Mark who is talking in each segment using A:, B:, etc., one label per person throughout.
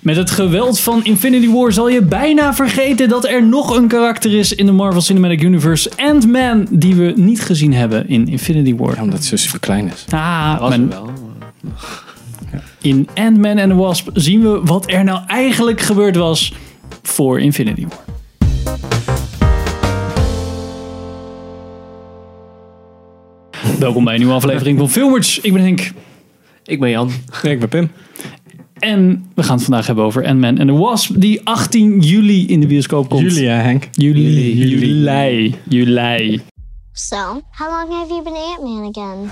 A: Met het geweld van Infinity War zal je bijna vergeten dat er nog een karakter is in de Marvel Cinematic Universe, Ant-Man, die we niet gezien hebben in Infinity War.
B: Ja, omdat ze super klein is.
A: Ah,
C: Was
A: men-
C: er wel.
A: in Ant-Man and the Wasp zien we wat er nou eigenlijk gebeurd was voor Infinity War. Welkom bij een nieuwe aflevering van Filmers. Ik ben Henk.
C: Ik ben Jan.
B: Nee, ik ben Pim.
A: En we gaan het vandaag hebben over Ant-Man and the Wasp, die 18 juli in de bioscoop komt.
B: Julia, Henk.
A: Juli.
B: Juli.
A: Juli. Juli.
D: So, how long have you been Ant Man again?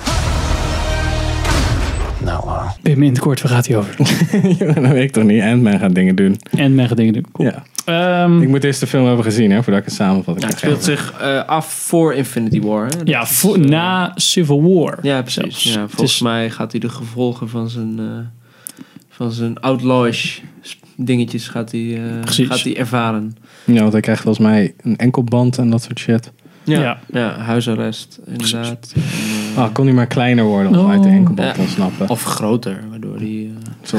A: Pim, in het kort, waar gaat hij over?
B: Ja, dat weet ik toch niet. Ant-Man gaat dingen doen.
A: en mijn dingen doen. Cool.
B: Ja.
A: Ehm,
B: Ik moet eerst de film hebben gezien, hè, voordat ik het samenvat.
C: Ja, het speelt zich eh, af voor Infinity War. Hè?
A: ja, voor- na Civil War.
C: Eh, Ja, precies.
A: zelfs.
C: Ja,
A: Het
C: volgens
A: is-
C: mij gaat hij de gevolgen van zijn, eh, van zijn outlawish sp- dingetjes gaat hij, eh,
A: Precies.
C: gaat hij ervaren.
B: Ja, want hij krijgt volgens mij een enkelband en dat soort shit.
C: Ja,
A: Ja.
C: ja. huisarrest inderdaad. En, eh,
B: Ah, kon hij maar kleiner worden om
A: Oh.
B: uit de enkelband
C: Ja.
B: te ontsnappen.
C: Of groter, waardoor hij... eh,
B: Zo,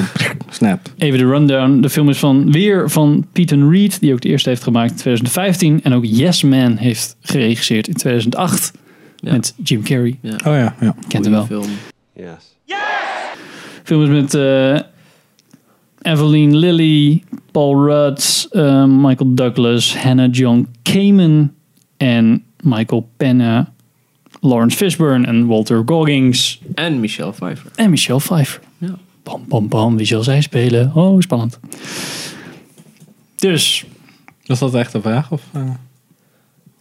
B: snap.
A: Even de rundown. De film is van weer van Peyton Reed, die ook de eerste heeft gemaakt in 2015. En ook Yes Man heeft geregisseerd in 2008.
C: Ja.
A: Met Jim Carrey.
C: ja,
B: Oh ja, ja.
A: Kent hem wel.
C: goede film.
E: Yes.
A: De film is met eh Evelyn Lilly, Paul Rudd, eh, Michael Douglas, Hannah John Kamen en Michael Penna, Lawrence Fishburne en Walter Goggins.
C: En Michelle Pfeiffer.
A: En Michelle Pfeiffer.
C: Ja.
A: Bam, bam, bam. Wie zal zij spelen? Oh, spannend. Dus,
B: Was dat echt een vraag? Of, eh?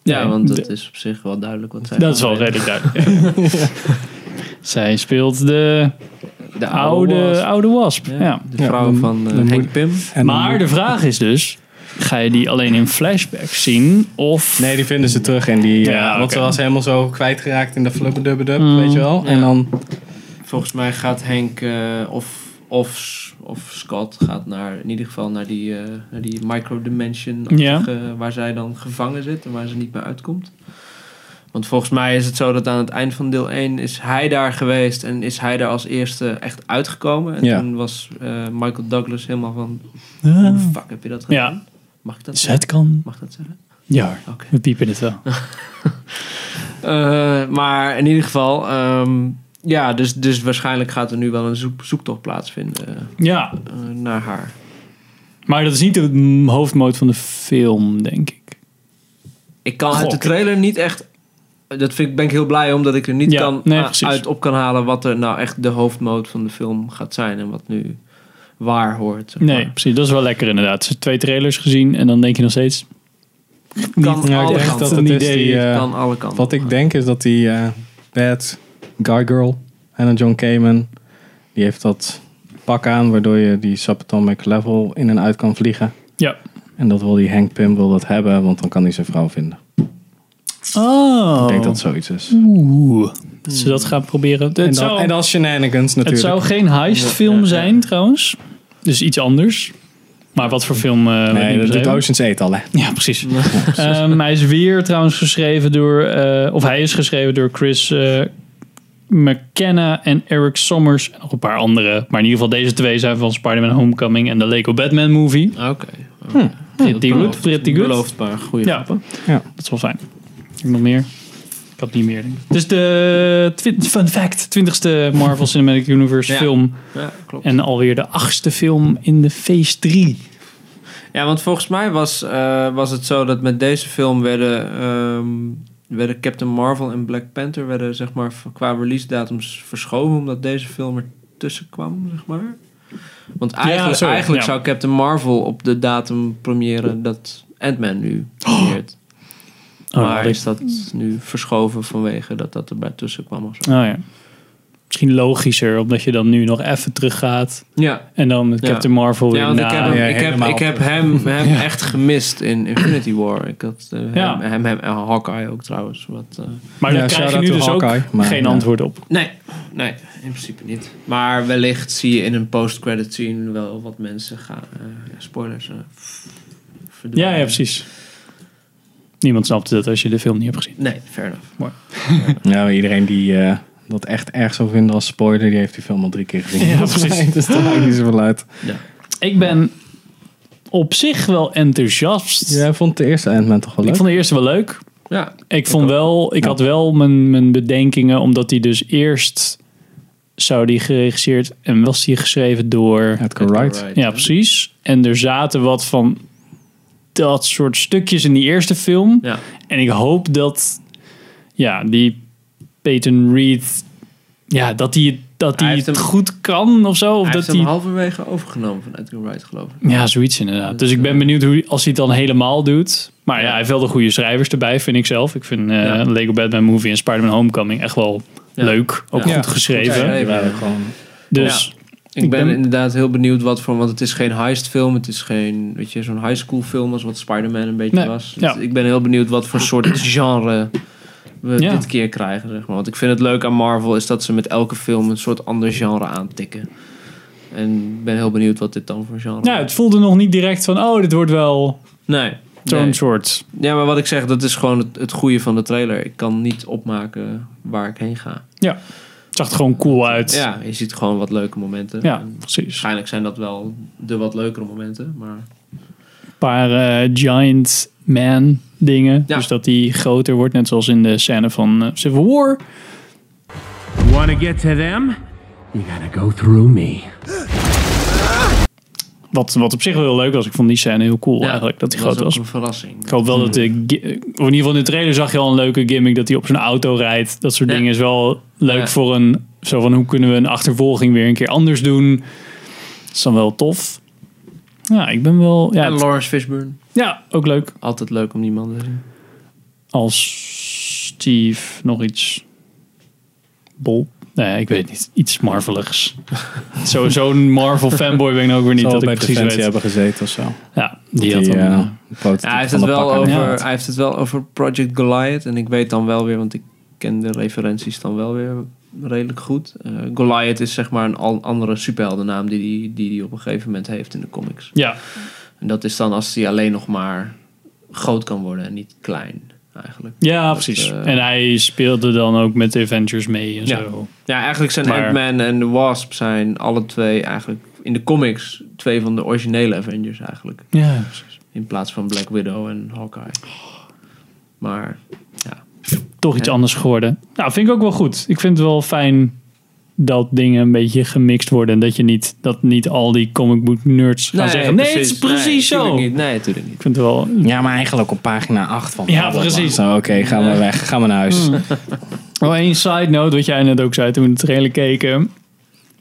C: Ja,
A: Nee,
C: want
A: de-
C: het eh, is op zich wel duidelijk wat zij
A: dat is
C: gaan
A: wel
C: spelen.
A: redelijk duidelijk. ja. Zij speelt de
C: De oude...
A: oude, oude wasp. Ja.
C: ja, De vrouw
B: dan-
C: van eh,
B: dan moet-
C: Henk Pim.
B: En
A: Maar de vraag is dus, ga je die alleen in flashbacks zien? Of...
B: Nee, die vinden ze terug en die... eh,
A: Ja,
B: Want
A: oké.
B: ze was helemaal zo kwijtgeraakt in de flubbedubbedub,
A: Mm.
B: weet je wel? En
C: Ja.
B: dan...
C: Volgens mij gaat Henk eh, of, of, of Scott gaat naar, in ieder geval naar die, eh, naar die microdimension
A: Ja.
C: eh, waar zij dan gevangen zit en waar ze niet meer uitkomt. Want volgens mij is het zo dat aan het eind van deel 1 is hij daar geweest en is hij daar als eerste echt uitgekomen. En
B: Ja.
C: toen was eh, Michael Douglas helemaal van, hoe
A: Ah.
C: de fuck heb je dat gedaan? Mag ik dat
A: Dus
C: zeggen?
A: het kan.
C: Mag ik dat zeggen?
A: Ja, hoor.
C: Oké.
A: we piepen het wel.
C: Eh, maar in ieder geval, ehm, ja, dus, dus waarschijnlijk gaat er nu wel een zoek, zoektocht plaatsvinden
A: Ja,
C: eh, naar haar.
A: maar dat is niet de mm, hoofdmoot van de film, denk ik.
C: Ik kan uit de
A: Gok.
C: trailer niet echt. Dat vind ik, ben ik heel blij omdat ik er niet
A: Ja,
C: kan,
A: nee,
C: a-
A: precies.
C: uit op kan halen wat er nou echt de hoofdmoot van de film gaat zijn en wat nu waar hoort. zeg
A: Nee,
C: maar.
A: precies. Dat is wel lekker inderdaad. Ze twee trailers gezien en dan denk je nog steeds...
C: Kan
B: Ja, ik
C: alle
B: denk
C: kanten.
B: dat het
A: Een
B: is
A: idee,
B: die... eh,
C: kan alle kanten.
B: Wat ik denk is dat die eh, bad guy girl, Hannah John Kamen, die heeft dat pak aan waardoor je die subatomic level in en uit kan vliegen.
A: Ja.
B: En dat wil die Hank Pym wil dat hebben, want dan kan hij zijn vrouw vinden.
A: Oh.
B: Ik denk dat zoiets is.
A: Oeh. Oh. Dat ze dat gaan proberen. Het
B: En dan,
A: zou,
B: en dan shenanigans
A: het
B: natuurlijk.
A: zou geen heistfilm
C: Ja, ja, ja.
A: zijn trouwens. Dus iets anders. Maar wat voor film... eh, weet
B: nee,
A: niet
B: dat doet
A: beschreven.
B: Ocean's 8 al hè.
A: Ja, precies. Ehm, hij is weer trouwens geschreven door... eh, of hij is geschreven door Chris eh, McKenna en Eric Sommers. En nog een paar andere. Maar in ieder geval deze twee zijn van Spider-Man Homecoming en de Lego Batman movie.
C: Oké.
A: Pretty
C: Dat
A: good,
C: belooft-
A: pretty good.
C: Belooft maar goede
A: Ja.
C: grappen.
B: Ja.
A: Dat zal zijn. Heb ik nog meer? Ik had niet meer. Denk ik. Dus de twin- fun fact, 20ste Marvel Cinematic Universe
C: Ja.
A: film.
C: Ja, klopt.
A: En alweer de achtste film in de Phase 3.
C: Ja, want volgens mij was, eh, was het zo dat met deze film werden, ehm, werden Captain Marvel en Black Panther werden, zeg maar, v- qua release datums verschoven, omdat deze film ertussen kwam, zeg maar. Want eigenlijk,
A: zo,
C: eigenlijk
A: ja.
C: zou Captain Marvel op de datum premieren dat Ant-Man nu premieert.
A: Oh,
C: maar
A: dat
C: is dat nu verschoven vanwege dat dat er bij tussen kwam of zo?
A: Oh ja. Misschien logischer, omdat je dan nu nog even teruggaat.
C: Ja,
A: En dan met
C: Ja.
A: Captain Marvel weer
C: Ja, want ik heb
A: na.
C: hem,
B: ja,
C: ik heb,
B: helemaal
C: ik heb hem, hem echt gemist in Infinity War. Ik had eh,
A: Ja.
C: hem, hem, hem en Hawkeye ook trouwens. Wat, eh,
A: Maar
B: Ja,
A: daar krijg je
B: shout-out
A: nu
B: to
A: dus ook
B: Hawkeye, maar,
A: geen
B: ja.
A: antwoord op.
C: Nee, nee, in principe niet. Maar wellicht zie je in een post-credit scene wel wat mensen gaan. eh, ja, spoilers. eh, f- verdwijnen.
A: Ja, ja, precies. Niemand snapte dat als je de film niet hebt gezien.
C: Nee, fair enough.
B: Ja, maar iedereen die eh, dat echt erg zou vinden als spoiler, die heeft die film al drie keer gezien.
A: Ja,
B: Volgens mij.
A: precies.
B: Dus dat maakt niet zoveel uit.
C: Ja.
A: Ik ben op zich wel enthousiast.
B: Jij vond de eerste Ant-Man toch wel
A: Ik
B: leuk?
A: vond de eerste wel leuk.
C: Ja,
A: Ik vond wel, ik
B: Ja.
A: had wel mijn, mijn bedenkingen, omdat hij dus eerst zou die geregisseerd en was die geschreven door. Ja,
B: Edgar Wright.
A: precies. En er zaten wat van dat soort stukjes in die eerste film.
C: Ja.
A: En ik hoop dat, ja, die Peyton Reed, ja, dat hij dat
C: Hij
A: hij
C: heeft
A: het
C: hem-
A: goed kan of zo. Of
C: Hij
A: dat
C: heeft
A: hij
C: hem halverwege overgenomen van Edgar Wright, geloof ik.
A: ja, zoiets inderdaad. Dus ik ben benieuwd hoe, als hij het dan helemaal doet. Maar ja, hij heeft wel de goede schrijvers erbij, vind ik zelf. Ik vind eh,
C: Ja.
A: Lego Batman Movie en Spider-Man Homecoming echt wel
C: Ja.
A: leuk. Ook
C: Ja.
A: goed geschreven.
C: Ja, ja.
B: Die waren gewoon
A: Dus
C: Ik, ben,
A: ben-
C: inderdaad heel benieuwd wat voor, want het is geen heistfilm, het is geen, weet je, zo'n high school film als wat Spider-Man een beetje
A: Nee,
C: was.
A: ja.
C: Dus ik ben heel benieuwd wat voor soort genre we
A: Ja.
C: dit keer krijgen, zeg maar. Want ik vind het leuk aan Marvel is dat ze met elke film een soort ander genre aantikken. En ik ben heel benieuwd wat dit dan voor genre
A: ja, het voelde nog niet direct van, oh, dit wordt wel
C: Nee.
A: zo'n
C: nee.
A: soort.
C: Ja, maar wat ik zeg, dat is gewoon het, het goede van de trailer. Ik kan niet opmaken waar ik heen ga.
A: Het zag er gewoon cool uit.
C: Ja, je ziet gewoon wat leuke momenten.
A: Ja,
C: En
A: precies.
C: waarschijnlijk zijn dat wel de wat leukere momenten, maar...
A: Een paar eh, giant man dingen.
C: Ja.
A: Dus dat die groter wordt, net zoals in de scène van eh, Civil War.
E: Want to get to them? You gotta go through me.
A: Wat, wat op zich wel heel leuk was. Ik vond die scène heel cool eigenlijk, dat die
C: was
A: groot
C: ook
A: was.
C: een verrassing.
A: Ik hoop wel dat de... gi- Of in ieder geval in de trailer zag je al een leuke gimmick... dat hij op zijn auto rijdt. Dat soort
C: Ja.
A: dingen is wel leuk
C: Ja.
A: voor een... Zo van, hoe kunnen we een achtervolging weer een keer anders doen? Dat is dan wel tof. Ja, ik ben wel... Ja,
C: en Lawrence Fishburne.
A: ja ook leuk.
C: Altijd leuk om die man te zien.
A: Als Steve nog iets... Bol? Nee, ik weet het niet. Iets Marveligs. Zo- Zo'n Marvel fanboy ben ik nou ook weer niet.
B: zal
A: Dat ik
B: bij
A: precies
B: Defensie
A: weet.
B: hebben gezeten of zo.
A: Ja, die had
B: Die,
A: dan...
B: eh,
A: eh,
B: een prototype
C: Ja, hij, heeft
B: van
C: het
B: de
C: wel
B: pak aan
A: pakken.
C: over,
A: Ja.
C: hij heeft het wel over Project Goliath. En ik weet dan wel weer, want ik ken de referenties dan wel weer redelijk goed. Eh, Goliath is zeg maar een al- andere superheldennaam die hij die, die die op een gegeven moment heeft in de comics.
A: ja,
C: En dat is dan als hij alleen nog maar groot kan worden en niet klein eigenlijk.
A: ja, precies.
C: eh,
A: en hij speelde dan ook met de Avengers mee en
C: Ja.
A: zo.
C: Ja, eigenlijk zijn
A: Maar-
C: Ant-Man en The Wasp zijn alle twee eigenlijk in de comics twee van de originele Avengers eigenlijk.
A: Ja,
C: In plaats van Black Widow en Hawkeye. Maar
A: toch iets
C: Ja.
A: anders geworden. Nou, vind ik ook wel goed. Ik vind het wel fijn dat dingen een beetje gemixt worden. En dat je niet, dat niet al die comic book nerds gaan zeggen. Nee, het is precies
C: nee,
A: zo.
C: tuurlijk
A: Ik
C: Niet. Nee, natuurlijk niet.
A: vind het wel.
B: Ja, maar eigenlijk op pagina 8 van.
A: Ja, precies. Mm.
B: Zo, Oké, gaan we weg. Gaan we naar huis.
A: Oh, één side note, wat jij net ook zei toen we de trailer keken.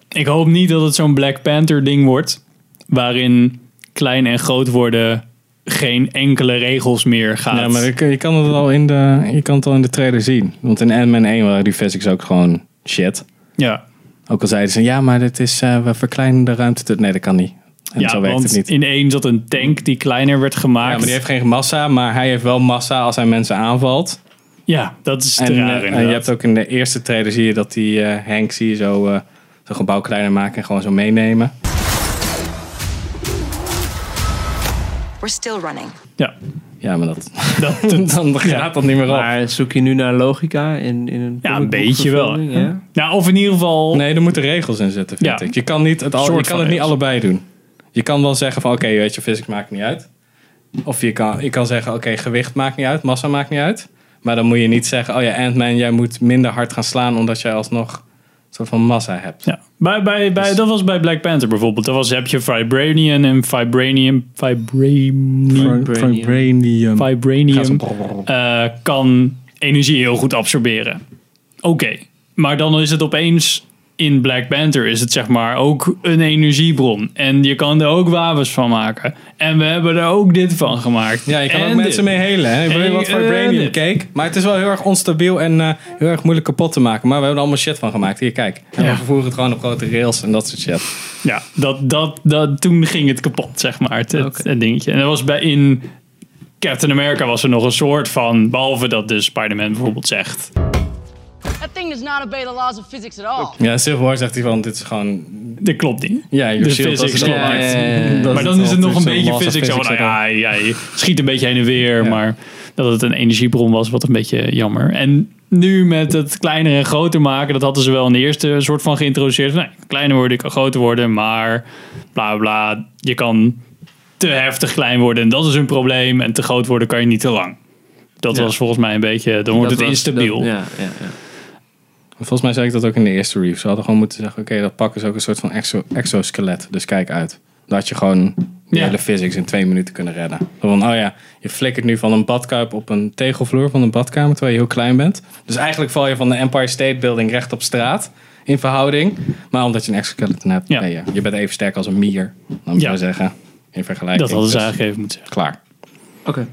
A: Ik hoop niet dat het zo'n Black Panther ding wordt. Waarin klein en groot worden geen enkele regels meer gaat.
B: Ja, maar ik- je kan, het al in de, je kan het al in de trailer zien. Want in Ant-Man 1 waren die physics ook gewoon shit.
A: ja.
B: Ook al zeiden ze, ja, maar dit is, eh, we verkleinen de ruimte. tot- Nee, dat kan niet. En
A: ja,
B: zo werkt
A: want
B: het niet.
A: in één zat een tank die kleiner werd gemaakt.
B: Ja, maar die heeft geen massa, maar hij heeft wel massa als hij mensen aanvalt.
A: Ja, dat is te
B: En, eh,
A: raar
B: en
A: inderdaad.
B: je hebt ook in de eerste trailer zie je dat die eh, Hank zie je zo eh, zo'n gebouw kleiner maken en gewoon zo meenemen.
F: We're still running.
A: Ja,
B: Ja, maar dat,
A: dat,
B: dan gaat dat niet meer op.
C: Maar zoek je nu naar logica in, in een
A: Ja,
C: comic
A: een
C: book
A: beetje wel.
C: verfilming, Ja?
A: Nou, of in ieder geval.
B: Nee, er moeten regels in zitten, vind
A: Ja.
B: ik. Je kan, niet het, al,
A: Soort
B: je kan
A: van
B: het niet
A: regels.
B: allebei doen. Je kan wel zeggen van, oké, weet je, physics maakt niet uit. Of je kan, je kan zeggen, oké, gewicht maakt niet uit, massa maakt niet uit. Maar dan moet je niet zeggen, oh ja, Ant-Man, jij moet minder hard gaan slaan... omdat jij alsnog een soort van massa hebt.
A: Ja. Bij, bij,
B: Dus-
A: bij, dat was bij Black Panther bijvoorbeeld. Dat was, heb je Vibranium en Vibranium. Vibranium.
C: Vibranium.
B: Gaat zo-
A: Vibranium eh, kan energie heel goed absorberen. Oké. Maar dan is het opeens. In Black Panther is het zeg maar ook een energiebron. En je kan er ook wapens van maken. En we hebben er ook dit van gemaakt.
B: Ja, je kan
A: En
B: ook mensen
A: dit.
B: mee helen. Hè? Ik weet
A: En
B: niet wat voor
A: dit.
B: Vibranium cake. Maar het is wel heel erg onstabiel en eh, heel erg moeilijk kapot te maken. Maar we hebben er allemaal shit van gemaakt. Hier, kijk. En
A: Ja.
B: we vervoeren het gewoon op grote rails en dat soort shit.
A: Ja, dat, dat, dat, toen ging het kapot, zeg maar, het, het-
C: Oké.
A: het dingetje. En dat was bij in Captain America was er nog een soort van, behalve dat dus Spider-Man bijvoorbeeld zegt.
G: That thing does not obey the laws of physics at all.
B: Ja, Civil War zegt hij van, dit is gewoon...
A: Dit klopt niet.
B: Ja, je
A: Dus
B: shield, dat
A: physics
B: is
A: klopt
B: allemaal-
A: niet.
C: Ja, ja, ja, ja.
B: dat
A: Maar dan is het nog een
B: altijd zo'n
A: beetje
B: massa
A: physics. Oh, nou
B: en
A: ja, ja, je schiet een beetje heen en weer,
B: Ja.
A: maar dat het een energiebron was, wat een beetje jammer. En nu met het kleiner en groter maken, dat hadden ze wel in de eerste soort van geïntroduceerd. van, Nee, kleiner worden, ik kan groter worden, maar bla bla. Je kan te heftig klein worden. En dat is een probleem. En te groot worden kan je niet te lang. Dat
C: Ja.
A: was volgens mij een beetje... Dan wordt
C: Dat
A: het
C: was-
A: instabiel.
C: dat- ja, ja, ja.
B: Volgens mij zei ik dat ook in de eerste review. Ze hadden gewoon moeten zeggen, oké, dat pak is ook een soort van exo exoskelet. Dus kijk uit. Dat je gewoon de
A: Ja.
B: hele physics in twee minuten kunnen redden. Zo Van, oh ja, je flikkert nu van een badkuip op een tegelvloer van een badkamer, terwijl je heel klein bent. Dus eigenlijk val je van de Empire State Building recht op straat in verhouding. Maar omdat je een exoskeleton hebt,
A: Ja.
B: ben je, je bent even sterk als een mier, laat ik
A: Ja.
B: zo zeggen. In vergelijking.
A: Dat hadden ze
B: Dus
A: eigenlijk even moeten zeggen.
B: Klaar.
C: Oké.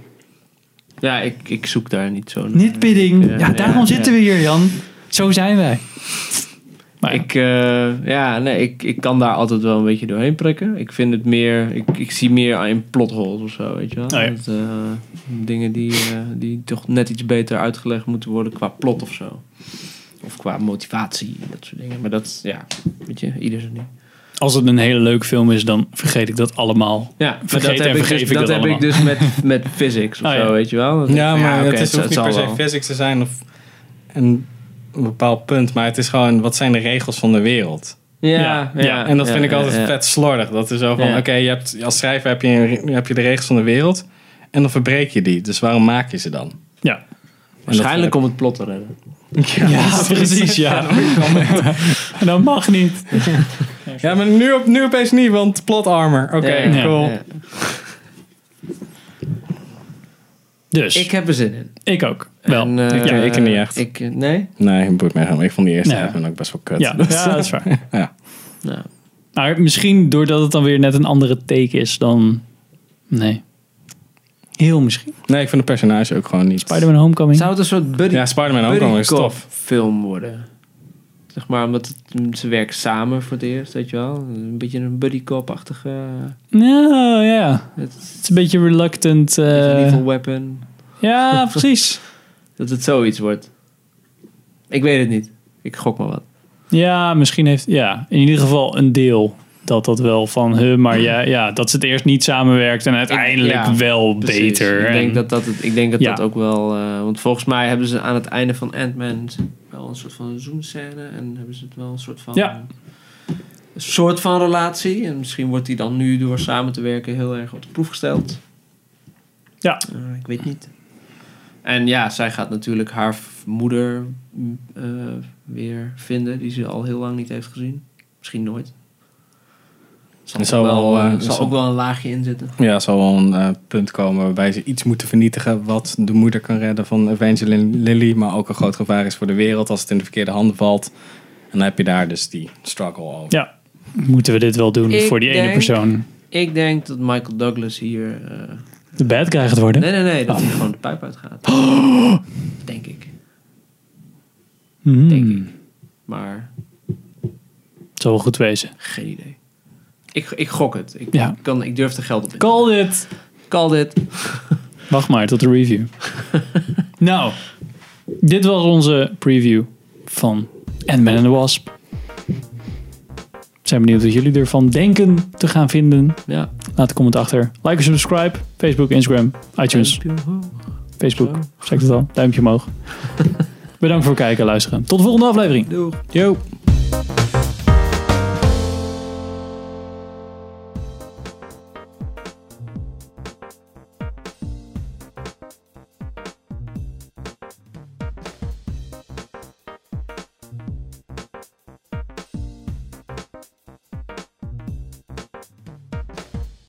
C: Ja, ik, ik zoek daar niet zo naar.
A: Nitpidding. Ja, daarom
C: ja.
A: zitten we hier, Jan. Zo zijn wij. Maar
C: Ik, eh, ja, nee, ik, ik kan daar altijd wel een beetje doorheen prikken. Ik vind het meer, ik, ik zie meer in plotholes of zo, weet je wel.
A: Oh ja.
C: Dat, eh, dingen die, eh, die toch net iets beter uitgelegd moeten worden qua plot of zo. Of qua motivatie, dat soort dingen. Maar dat, ja, weet je, ieder zijn ding.
A: als het een hele leuke film is, dan vergeet ik dat allemaal.
C: Ja, maar
A: Vergeet en
C: dat heb, ik
A: vergeef
C: dus,
A: ik
C: dat
A: dat
C: heb ik dus met, met physics of
A: Oh ja.
C: zo, weet je wel. Dat ik-
B: Ja, maar
C: oké,
B: het is, hoeft niet
C: zal
B: per se
C: wel.
B: physics te zijn of een een bepaald punt. Maar het is gewoon, wat zijn de regels van de wereld?
C: Ja, ja,
A: ja.
B: En dat
C: ja,
B: vind ik
C: ja,
B: altijd
C: ja.
B: vet slordig. Dat is zo van,
C: Ja.
B: oké, je hebt als schrijver heb je, een- heb je de regels van de wereld. En dan verbreek je die. Dus waarom maak je ze dan? En
A: Ja,
B: dat-
C: Waarschijnlijk om het plot te redden.
A: ja, precies. Ja. dat mag niet.
B: Ja, maar nu, op, nu opeens niet, want plot armor. Oké,
C: Ja, ja,
B: cool.
C: ja.
A: Dus,
C: Ik
A: ik,
C: heb er zin in.
A: ook. Wel.
C: En, eh,
B: Ik- ja, ik niet echt.
C: Ik, eh, nee?
B: Nee, boeit mij helemaal. Ik vond die eerste
A: Ja.
B: Hitman ook best wel kut. Dus,
A: ja, ja, dat is waar.
B: Ja.
C: Nou,
A: Maar misschien doordat het dan weer net een andere take is dan... Nee. Heel misschien.
B: Nee, ik vind de personage ook gewoon niet...
A: Spider-Man Homecoming.
C: Zou het een soort buddy,
B: Ja, Spider-Man ook
C: buddy
B: al is
C: cop
B: tof.
C: film worden? Zeg maar, omdat het- ze werken samen voor het eerst, weet je wel. Een beetje een buddy cop-achtige...
A: Nou, ja.
C: Het is
A: Het is een beetje reluctant. eh,
C: een lethal weapon.
A: ja, precies.
C: Dat het zoiets wordt. Ik weet het niet. Ik gok maar wat.
A: Ja, misschien heeft... Ja, in ieder geval een deel dat dat wel van... Huh, maar ja, ja, dat ze het eerst niet samenwerkt en uiteindelijk
C: ja,
A: wel
C: Precies.
A: beter.
C: Ik denk
A: En-
C: dat dat, het- ik denk dat,
A: Ja.
C: dat ook wel... eh, want volgens mij hebben ze aan het einde van Ant-Man wel een soort van zoenscène. En hebben ze het wel een soort van...
A: Ja.
C: Een soort van relatie. En misschien wordt die dan nu door samen te werken heel erg op de proef gesteld.
A: Ja.
C: Eh, ik weet niet. En ja, zij gaat natuurlijk haar v- moeder mm, eh, weer vinden. Die ze al heel lang niet heeft gezien. Misschien nooit. Zal,
B: Het zal
C: ook wel,
B: wel, eh,
C: eh,
B: het
C: zal
B: zal-
C: ook wel een laagje in zitten.
B: Ja, er zal wel een eh, punt komen waarbij ze iets moeten vernietigen wat de moeder kan redden van Evangeline Lilly, maar ook een groot gevaar is voor de wereld als het in de verkeerde handen valt. En dan heb je daar dus die struggle over.
A: Ja, moeten we dit wel doen
C: Ik
A: voor die ene
C: denk-
A: persoon?
C: Ik denk dat Michael Douglas hier. eh,
A: De bad guy gaat worden?
C: nee, nee, nee,
A: Oh.
C: dat hij gewoon de pijp uitgaat. Denk ik.
A: Hmm,
C: Denk ik. Maar
A: Het zal wel goed wezen.
C: geen idee. Ik, ik gok het. Ik,
A: Ja.
C: kan, ik durf er geld op in.
A: Call it!
C: Call dit.
A: Wacht maar tot de review. nou, dit was onze preview van Ant-Man and the Wasp. Zijn benieuwd wat jullie ervan denken te gaan vinden.
C: Ja.
A: Laat een comment achter. Like en subscribe. Facebook, Instagram, iTunes, Facebook. Zeg ik het al. Duimpje omhoog. Bedankt voor het kijken en luisteren. Tot de volgende aflevering.
C: Doeg.
B: Yo.